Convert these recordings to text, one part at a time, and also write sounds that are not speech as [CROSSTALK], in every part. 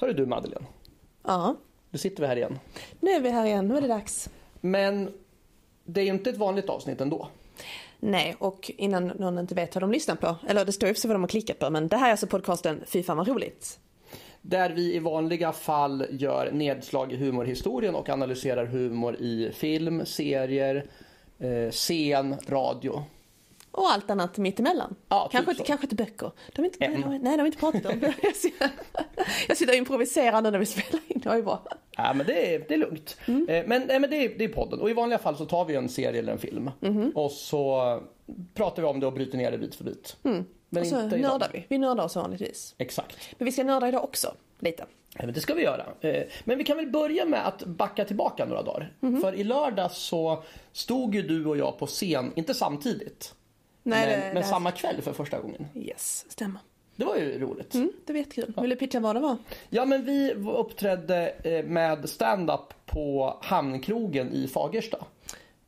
Hörru du Madeleine, Ja, nu sitter vi här igen. nu är vi här igen. Nu är det dags. Men det är ju inte ett vanligt avsnitt ändå. Nej, och innan någon inte vet vad de lyssnar på, eller det står ju för sig vad de har klickat på, men det här är alltså podcasten Fy fan vad roligt. Där vi i vanliga fall gör nedslag i humorhistorien och analyserar humor i film, serier, eh, scen, radio. Och allt annat mittemellan. Ja, typ kanske, så. inte, kanske inte böcker. De är inte, nej, Mm. de, har- nej, de har inte pratat [LAUGHS] om det. Jag sitter- Jag sitter och improviserar nu när vi spelar in, det var ju bra. Ja, men det, är, det är lugnt. Mm. Eh, Men, nej, men det, är, det är podden. Och i vanliga fall så tar vi en serie eller en film. Mm-hmm. Och så pratar vi om det och bryter ner det bit för bit. Men Mm. och så inte idag. nördar vi. Vi nördar oss vanligtvis. Exakt. Men vi ska nörda idag också, lite. Ja, men det ska vi göra. Eh, Men vi kan väl börja med att backa tillbaka några dagar. Mhm. För i lördag så stod ju du och jag på scen, inte samtidigt, Nej, men, det- det men här- samma kväll för första gången. Yes, stämmer. Det var ju roligt. Mm, det var jättekul. Vill du pitcha vad det var? Ja, men vi v- uppträdde eh, med stand-up på Hamnkrogen i Fagersta.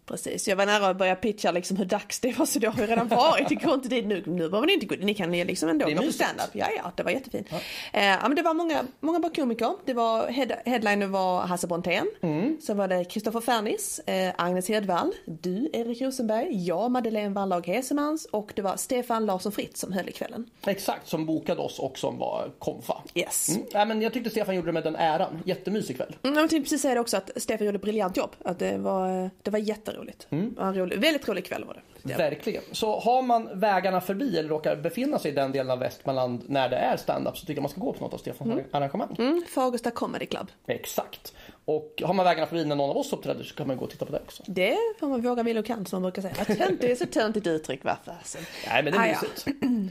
Precis, jag var nära att börja pitcha liksom hur dags det var så det har ju redan varit. Det går inte dit nu. Nu behöver ni inte gå Ni kan ju liksom ändå Det är gå på mysigt. standup. Ja, ja, det var jättefint. Ja. Eh, ja, men det var många, många bra komiker. Det var, head, headliner var Hasse Brontén. Mm. Så var det Kristoffer Fernis, eh, Agnes Hedvall, du Erik Rosenberg, jag Madeleine Walllag Hesemans och det var Stefan Larsson Fritt som höll i kvällen. Exakt, som bokade oss och som var konfa. Yes. Mm. Ja, men jag tyckte Stefan gjorde det med den äran. Jättemysig kväll. Mm, Jag tänkte precis säga det också att Stefan gjorde ett briljant jobb. Att det, var, det var jätteroligt. Mm. Det var en rolig, väldigt rolig kväll var det. det var. Verkligen. Så har man vägarna förbi eller råkar befinna sig i den delen av Västmanland när det är stand-up så tycker jag man ska gå på något av Stefans arrangemang. Mm, Fagersta Comedy Club. Exakt. Och har man vägarna förbi när någon av oss uppträder så kan man gå och titta på det också. Det får man våga, vill och kan som man brukar säga. Vad tönt, det är så töntigt uttryck va fasen. Nej men det Ah, är ja. mysigt.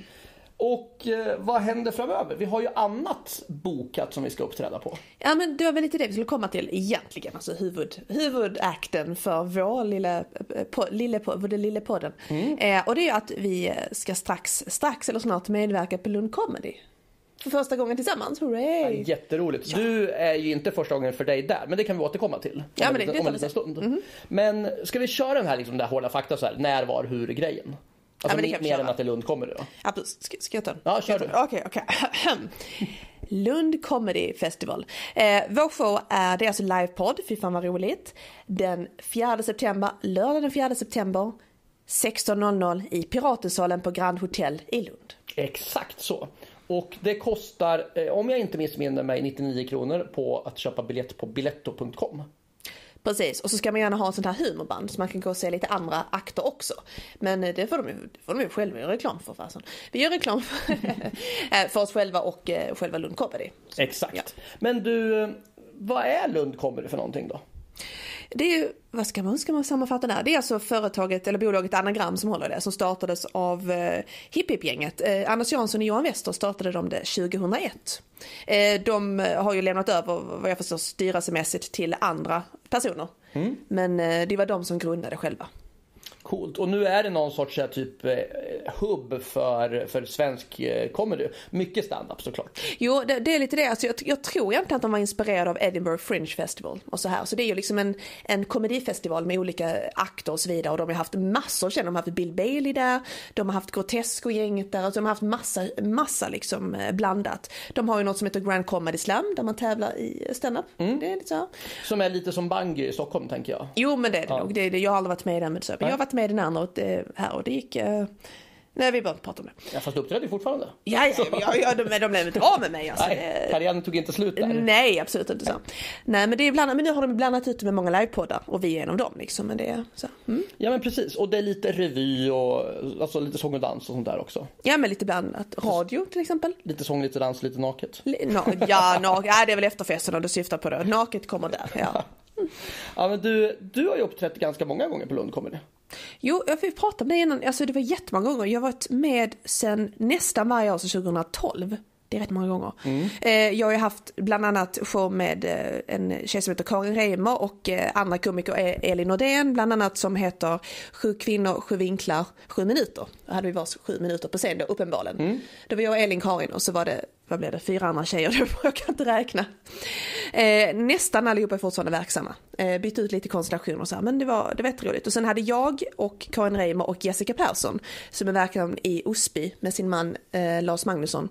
[CLEARS THROAT] Och eh, vad händer framöver? Vi har ju annat bokat som vi ska uppträda på. Ja men det var väl lite det vi skulle komma till egentligen. Alltså huvud, huvudakten för vår lilla, eh, po, lille, po, vår lille podden. Eh, och det är ju att vi eh, ska strax, strax eller snart medverka på Lund Comedy. För första gången tillsammans, hooray! Jätteroligt. Du är ju inte första gången för dig där, men det kan vi återkomma till. om Ja, en men det- liten- det om en tar vi Mhm. liten stund. Men ska vi köra den här, liksom, den här hårda fakta så här, när, var, hur grejen? Alltså men det mer- kan vi mer köra. än att det är Lund kommer då. Absolut. Ska, ska jag ta den? Ja, kör Ska jag ta den? Okej, okej. [CLEARS THROAT] Lund Comedy Festival. Eh, vår show är, det är alltså livepodd, fy fan vad roligt. Den 4 september, lördag den 4 september 16.00 i Piratensalen på Grand Hotel i Lund. Exakt så. Och det kostar, eh, om jag inte missminner mig, 99 kronor på att köpa biljett på biletto.com. Precis, och så ska man gärna ha en sån här humorband så man kan gå och se lite andra akter också. Men eh, det får de ju, det får de ju själva göra reklam för fasen. Vi gör reklam för, [LAUGHS] eh, för oss själva och eh, själva Lund Comedy. Exakt. Ja. Men du, eh, vad är Lund Comedy för någonting då? Det är ju, vad ska man, ska man sammanfatta det här? Det är alltså företaget, eller bolaget Anagram som håller det, som startades av eh, Hipp Hipp gänget Eh, Anders Jansson och Johan Wester startade de det 2001. Eh, de eh, har ju lämnat över, vad jag förstår, styrelsemässigt till andra personer. Men eh, det var de som grundade själva. Coolt. Och nu är det någon sorts så här, typ eh, hubb för, för svensk eh, comedy. Mycket stand-up såklart. Jo, det, det är lite det. Alltså, jag, jag tror egentligen att de var inspirerade av Edinburgh Fringe Festival och så här. Så det är ju liksom en, en komedifestival med olika akter och så vidare. Och de har haft massor, känner de har haft Bill Bailey där, de har haft Grotesco-gänget där, alltså de har haft massa, massa liksom eh, blandat. De har ju något som heter Grand Comedy Slam där man tävlar i standup. Det är lite så här. Som är lite som Bungy i Stockholm tänker jag. Jo men det är det nog. Det, är det, jag har aldrig varit med i den men, så, men jag har varit med i den andra och det, här och det gick... eh, nej vi behöver inte prata om det. Ja, fast du uppträder ju fortfarande. Ja, ja, ja, ja de, de blev inte av med mig alltså. Nej, Det- karriären tog inte slut där. Nej, absolut inte så. Nej, men, det är bland, men nu har de blandat ut det med många livepoddar och vi är en av dem liksom. Men det är så. Mm. Ja men precis. Och det är lite revy och alltså, lite sång och dans och sånt där också. Ja, men lite blandat. Radio till exempel. Lite sång, lite dans, lite naket. Li- No, ja, no, [LAUGHS] ja, det är väl efterfesten och du syftar på det. Naket kommer där. Ja. Ja, men du, du har ju uppträtt ganska många gånger på Lund Comedy. Jo, jag fick prata om det innan. Alltså, det var jättemånga gånger. Jag har varit med sedan nästan varje år sedan 2012. Det är rätt många gånger. Eh, jag har ju haft bland annat show med eh, en tjej som heter Karin Reimer och eh, andra komiker eh, Elin Nordén bland annat som heter Sju kvinnor, sju vinklar, sju minuter. Då hade vi vars sju minuter på scen då uppenbarligen. [LAUGHS] Det var jag och Elin Karin och så var det, vad blev det, fyra andra tjejer. Jag kan inte räkna. Eh, nästan allihopa är fortfarande verksamma. Eh, bytt ut lite konstellationer och så här, men det var, det var jätteroligt. Och sen hade jag och Karin Reimer och Jessica Persson som är verksam i Osby med sin man eh, Lars Magnusson.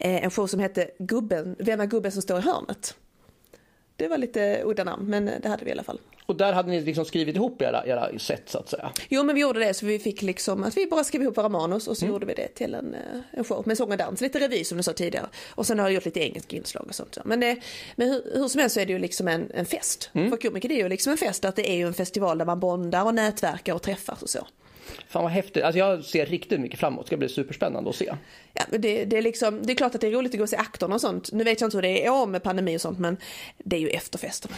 Eh, en show som hette Gubben, Vem är gubben som står i hörnet? Det var lite udda namn, men det hade vi i alla fall. Och där hade ni liksom skrivit ihop era, era set så att säga. Jo men vi gjorde det så vi fick liksom att vi bara skrev ihop våra manus och så gjorde vi det till en, eh, en show med sång och dans, lite revy som du sa tidigare. Och sen har jag gjort lite engelska inslag och sånt. Men, det, men hur, hur som helst så är det ju liksom en, en fest. För komiker det är ju liksom en fest att det är ju en festival där man bondar och nätverkar och träffas och så. Fan vad häftigt. Alltså jag ser riktigt mycket framåt. Det ska bli superspännande att se. Ja, men det, det, är liksom, det är klart att det är roligt att gå och se aktorn och sånt. Nu vet jag inte hur det är i år med pandemi och sånt men det är ju efterfesten.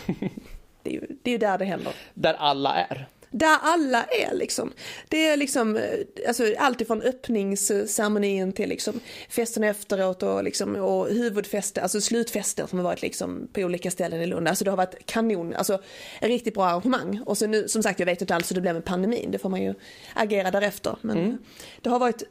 Det är ju, det är ju där det händer. Där alla är. Där alla är liksom. Det är liksom eh, alltså, allt ifrån öppningsceremonin till liksom festen efteråt och, liksom, och huvudfester, alltså slutfester som har varit liksom på olika ställen i Lund. Alltså det har varit kanon, alltså riktigt bra arrangemang. Och så nu, som sagt jag vet inte alls hur det blir med pandemin, det får man ju agera därefter. Men det har varit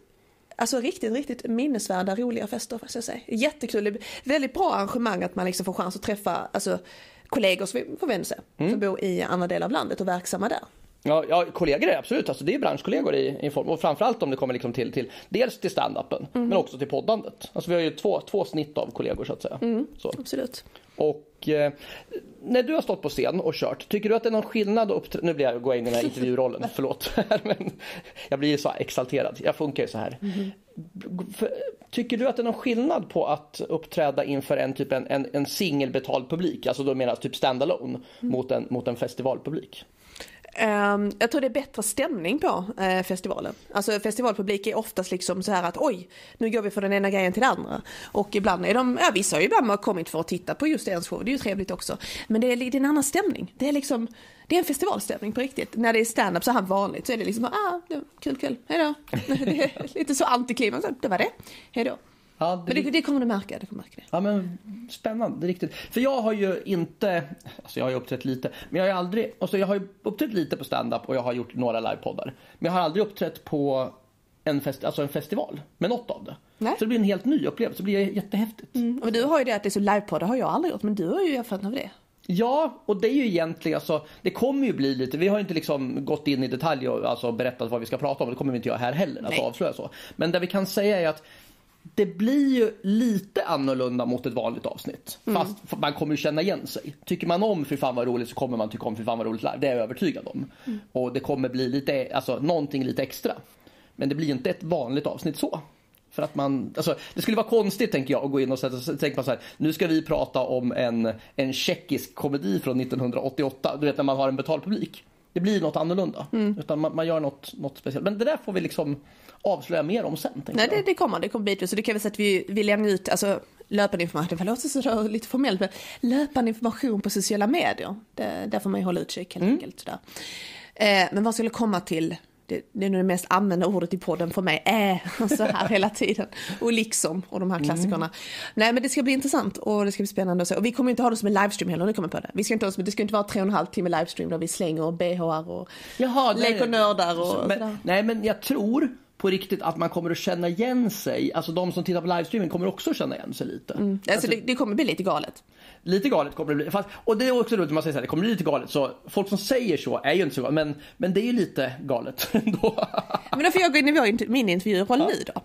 Alltså riktigt, riktigt minnesvärda, roliga fester måste jag säga. Jättekul, Det är väldigt bra arrangemang att man liksom får chans att träffa alltså, kollegor som vi får vända sig, som bor i andra delar av landet och verksamma där. Ja, ja kollegor är absolut. Alltså det är branschkollegor i, i form. Och framförallt om det kommer liksom till, till dels till standupen men också till poddandet. Alltså vi har ju två, två snitt av kollegor så att säga. Så. Absolut. Och eh, när du har stått på scen och kört, tycker du att det är någon skillnad att uppträda... Nu blir jag, går jag in i den här [LAUGHS] intervjurollen, förlåt. [LAUGHS] men jag blir så här exalterad, jag funkar ju så här. Mm-hmm. För- Tycker du att det är någon skillnad på att uppträda inför en typ en, en, en singelbetald publik, alltså då menas typ standalone, Mm. mot, en, mot en festivalpublik? Ehm, jag tror det är bättre stämning på eh, festivalen. Alltså festivalpublik är oftast liksom så här att oj, nu går vi från den ena grejen till den andra. Och ibland är de, ja vissa har ju ibland kommit för att titta på just ens show, det är ju trevligt också. Men det är, li- det är en annan stämning. Det är liksom, det är en festivalstämning på riktigt. När det är stand-up så här vanligt så är det liksom, ah, det var kul kväll, hejdå. [LAUGHS] Det är lite så antiklimax, det var det, hejdå. Ja, Men det, det kommer du märka, det kommer du märka det. Ja men spännande, riktigt. För jag har ju inte, alltså jag har ju uppträtt lite, men jag har ju aldrig, alltså jag har ju uppträtt lite på stand-up och jag har gjort några livepoddar. Men jag har aldrig uppträtt på en, fest, alltså en festival med något av det. Nej. Så det blir en helt ny upplevelse, det blir jättehäftigt. Mm. Och du har ju det att det är så livepodd, det har jag aldrig gjort, men du har ju erfarenhet av det. Ja, och det är ju egentligen alltså, det kommer ju bli lite, vi har ju inte liksom gått in i detalj och alltså berättat vad vi ska prata om, det kommer vi inte göra här heller, alltså Nej. avslöja så. Men det vi kan säga är att det blir ju lite annorlunda mot ett vanligt avsnitt. Mm. Fast man kommer ju känna igen sig. Tycker man om Fy fan vad roligt så kommer man tycka om Fy fan vad roligt live. Det är jag övertygad om. Mm. Och det kommer bli lite, alltså någonting lite extra. Men det blir ju inte ett vanligt avsnitt så. För att man, alltså, det skulle vara konstigt tänker jag att gå in och sätta, tänka man så här, nu ska vi prata om en, en tjeckisk komedi från 1988. Du vet när man har en betald publik. Det blir något annorlunda. Mm. Utan man, man gör något, något speciellt. Men det där får vi liksom avslöja mer om sen. tänker Nej, jag. det, det kommer. Det kommer bitvis. Så det kan vi säga att vi, vi lämnar ut alltså, löpande information. Det låter så där lite formellt, men löpande information på sociala medier. Det, där får man ju hålla utkik Mm. helt enkelt. Sådär. Eh, men vad skulle komma till? Det, det är nog det mest använda ordet i podden för mig. Äh, och [LAUGHS] så här hela tiden. Och liksom, och de här Mm. klassikerna. Nej men det ska bli intressant och det ska bli spännande att se. Och vi kommer ju inte ha det som en livestream heller, nu kommer jag på det. Vi ska inte ha det, som, det ska inte vara tre och en halv timme livestream där vi slänger BHR och Jaha, det- leker nördar och sådär. men, Nej men jag tror på riktigt att man kommer att känna igen sig. Alltså de som tittar på livestreamen kommer också känna igen sig lite. Alltså, det, det kommer bli lite galet. Lite galet kommer det bli. Fast, och det är också roligt när man säger så här, det kommer bli lite galet. Så folk som säger så är ju inte så galet. Men, men det är ju lite galet [LAUGHS] ändå. Men då får jag gå in i vår int- min intervjuroll nu då.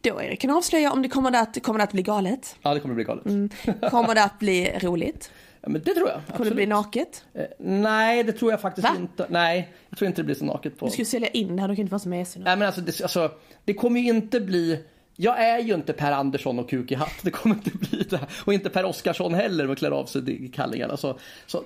Då Erik, kan du avslöja om det kommer det att, kommer det att bli galet? ja det kommer att bli galet. Kommer det att bli roligt? Ja, men det tror jag. Mm. Kommer det Absolut. bli naket? Eh, Nej det tror jag faktiskt Va? inte. Nej jag tror inte det blir så naket på. Du ska ju sälja in det här, du kan inte vara så mesig nu. Nej men alltså det, alltså det kommer ju inte bli jag är ju inte Per Andersson och kuk i hatt. Det kommer inte bli det. här. Och inte Per Oskarsson heller med klär av sig i kallingarna. Så, så,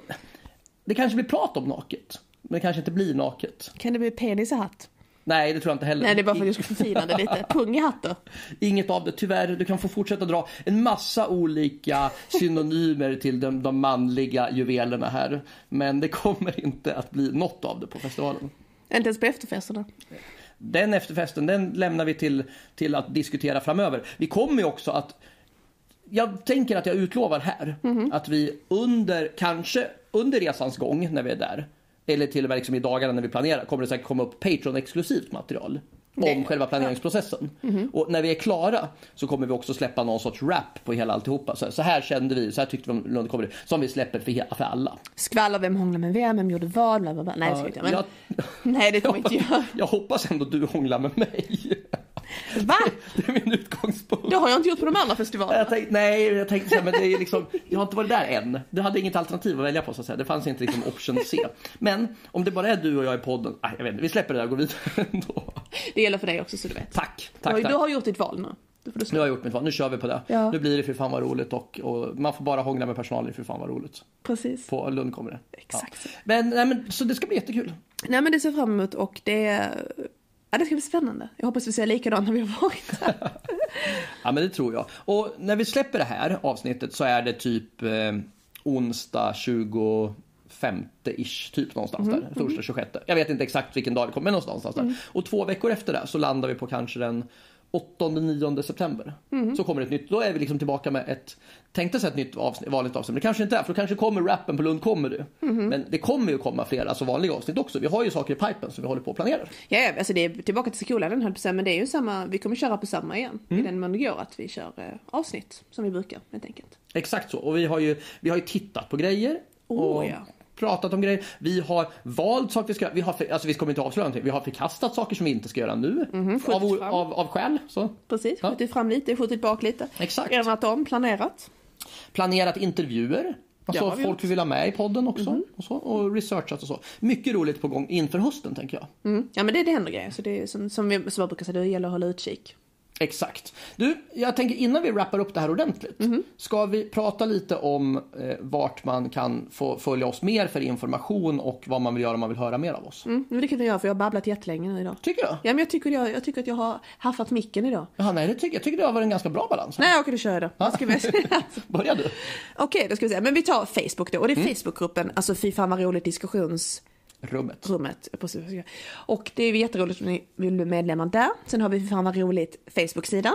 det kanske blir prat om naket. Men det kanske inte blir naket. Kan det bli penis i hatt? Nej, det tror jag inte heller. Nej, det är bara för att du ska förfina det lite. Pung i hatt då? Inget av det. Tyvärr, du kan få fortsätta dra en massa olika synonymer till de, de manliga juvelerna här. Men det kommer inte att bli något av det på festivalen. Inte ens på efterfesterna. Den efterfesten den lämnar vi till, till att diskutera framöver. Vi kommer ju också att... Jag tänker att jag utlovar här Mhm. att vi under, kanske under resans gång när vi är där eller till och med liksom i dagarna när vi planerar kommer det säkert komma upp Patreon-exklusivt material. om själva planeringsprocessen. Mhm. Och när vi är klara så kommer vi också släppa någon sorts rap på hela alltihopa. Så här, så här kände vi, så här tyckte vi om Lund Comedy. Som vi släpper för, he- för alla. Skvaller, vem hånglar med vem, vem gjorde vad, bla bla bla. Nej, det ska vi inte göra. jag, Men- Nej, det kommer vi inte göra. [LAUGHS] jag hoppas ändå du hånglar med mig. [LAUGHS] Va? Det är min utgångspunkt. Det har jag inte gjort på de andra festivalerna. Jag tänkte, nej, jag tänkte så här, men det är liksom, jag har inte varit där än. Du hade inget alternativ att välja på så att säga. Det fanns inte liksom option C. Men om det bara är du och jag i podden, nej, jag vet inte, vi släpper det där och går vidare [LAUGHS] ändå. Det gäller för dig också så du vet. Tack, Du har- tack, Du tack. har gjort ditt val nu. Då får du Nu sluta. har jag gjort mitt val, nu kör vi på det. Ja. Nu blir det för fan vad roligt och, och man får bara hångla med personalen för fan vad roligt. Precis. På Lund kommer det. Exakt. Ja. Men, nej, men, så det ska bli jättekul. Nej men det ser jag fram emot och det... Ja, det ska bli spännande. Jag hoppas vi ser likadant när vi har [LAUGHS] varit där. Ja men det tror jag. Och när vi släpper det här avsnittet så är det typ eh, onsdag 25 ish typ någonstans där. Torsdag 26. Jag vet inte exakt vilken dag det kommer men någonstans där. Och två veckor efter det så landar vi på kanske den 8-9 september. Så kommer ett nytt, då är vi liksom tillbaka med ett, tänkte sig ett nytt avsnitt, vanligt avsnitt. Men det kanske inte är för då kanske kommer rappen på Lund kommer du. Men det kommer ju komma fler, alltså vanliga avsnitt också. Vi har ju saker i pipen som vi håller på och planerar. Ja, ja, alltså det är tillbaka till skolan höll jag på att säga, men det är ju samma, vi kommer köra på samma igen. Mm. I den mån det går att vi kör eh, avsnitt som vi brukar helt enkelt. Exakt så. Och vi har ju, vi har ju tittat på grejer. Och Oh, ja. pratat om grejer. Vi har valt saker vi ska vi har, för, alltså vi kommer inte avslöja någonting. Vi har förkastat saker som vi inte ska göra nu. av, o- Mhm, fram. av, av skäl. Så. Precis, Ja. skjutit fram lite, skjutit bak lite. Exakt. Ändrat om, planerat. Planerat intervjuer. Alltså Ja, vi har Mhm. folk vi vill ha med i podden också. Och, så, och researchat och så. Mycket roligt på gång inför hösten tänker jag. Mm. Ja men det, det händer grejer, så det är som, som, vi, som jag brukar säga, det gäller att hålla utkik. Exakt. Du, jag tänker innan vi wrappar upp det här ordentligt. Mhm. Ska vi prata lite om eh, vart man kan få följa oss mer för information och vad man vill göra om man vill höra mer av oss? Mm. Men det kan vi göra för jag har babblat jättelänge nu idag. Tycker du? Ja men jag tycker, jag, jag tycker att jag har haffat micken idag. Jaha, nej, det tycker, jag tycker det har varit en ganska bra balans. här. Nej okej då kör jag då. Vad [LAUGHS] Ska vi... [LAUGHS] Börja du. Okej, då ska vi se. Men vi tar Facebook då. Och det är Facebookgruppen, alltså fy fan vad roligt diskussionsrummet. Rummet. Precis. vad jag ska- Och det är jätteroligt om ni vill bli medlemmar där. Sen har vi fy fan vad roligt Facebook-sidan.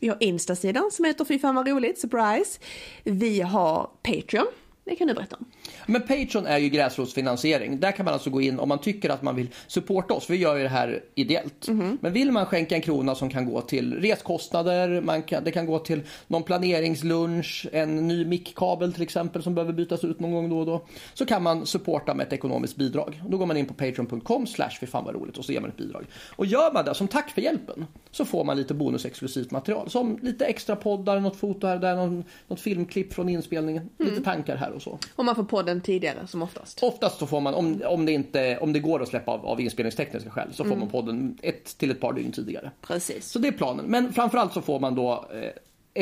Vi har Insta-sidan som heter fy fan vad roligt, surprise. Vi har Patreon. Det kan du berätta om. Men Patreon är ju gräsrotsfinansiering. Där kan man alltså gå in om man tycker att man vill supporta oss. Vi gör ju det här ideellt. Men vill man skänka en krona som kan gå till reskostnader, man kan, det kan gå till någon planeringslunch, en ny mickkabel till exempel som behöver bytas ut någon gång då och då. Så kan man supporta med ett ekonomiskt bidrag. Då går man in på patreon.com slash fy fan vad roligt och så ger man ett bidrag. Och gör man det som tack för hjälpen så får man lite bonusexklusivt material. Som lite extra poddar, något foto här och där, någon, något filmklipp från inspelningen. Lite tankar här och så. Och man får podden tidigare som oftast. Oftast så får man, om, om, det, inte, om det går att släppa av, av inspelningstekniska skäl, så får man podden ett till ett par dygn tidigare. Precis. Så det är planen. Men framförallt så får man då eh,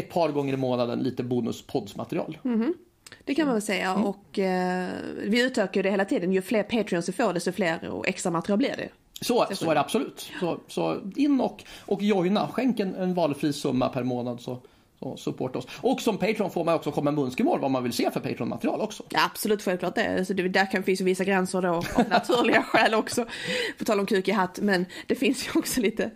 ett par gånger i månaden lite bonuspoddsmaterial. Det kan man väl säga. Och eh, vi utökar ju det hela tiden. Ju fler Patreons vi får desto fler och extra material blir det. Så, så är det absolut. Så, så in och, och joina. Skänk en, en valfri summa per månad så, så supporta oss. Och som Patreon får man också komma med önskemål vad man vill se för Patreon-material också. Ja, absolut, självklart det. Alltså, det där kan finnas ju vissa gränser då [LAUGHS] av naturliga skäl också. På tal om kuk i hatt, men det finns ju också lite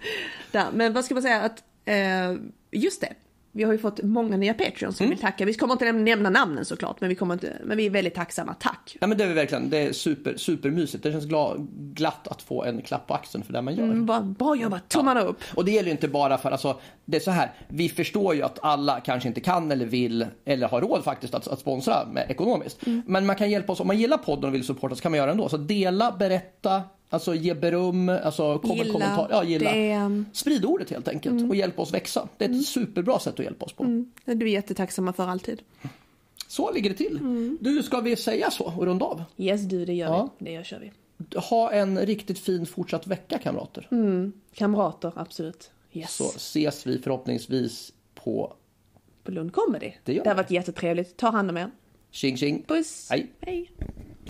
där. Men vad ska man säga att, eh, just det. Vi har ju fått många nya Patreons som vill tacka. Vi kommer inte nämna- nämna namnen såklart, men vi, kommer inte, men vi är väldigt tacksamma. Tack! Nej, men det är verkligen det är super, supermysigt. Det känns gla, glatt att få en klapp på axeln för det man gör. Mm, Bra, bra jobbat, tummarna upp! Och det gäller ju inte bara för, alltså, det är så här, vi förstår ju att alla kanske inte kan eller vill eller har råd faktiskt att, att sponsra med, ekonomiskt. Mm. Men man kan hjälpa oss, om man gillar podden och vill supporta så kan man göra det ändå. Så dela, berätta, alltså ge beröm, alltså kom Gilla, Mm. gilla, kommentar. Ja, gilla. DM. Sprid ordet helt enkelt och hjälp oss växa. Det är ett Mm. superbra sätt att hjälpa oss på. Du är vi jättetacksamma för alltid. Så ligger det till. Mm. Du, ska vi säga så och runda av? Yes du, det gör Ja. vi. Det gör, kör vi. Ha en riktigt fin fortsatt vecka kamrater. Mm. Kamrater, absolut. Yes. Så ses vi förhoppningsvis på På Lund Comedy. Det Det, gör det har vi. varit jättetrevligt. Ta hand om er. tjing tjing. Puss! Hej. Hej.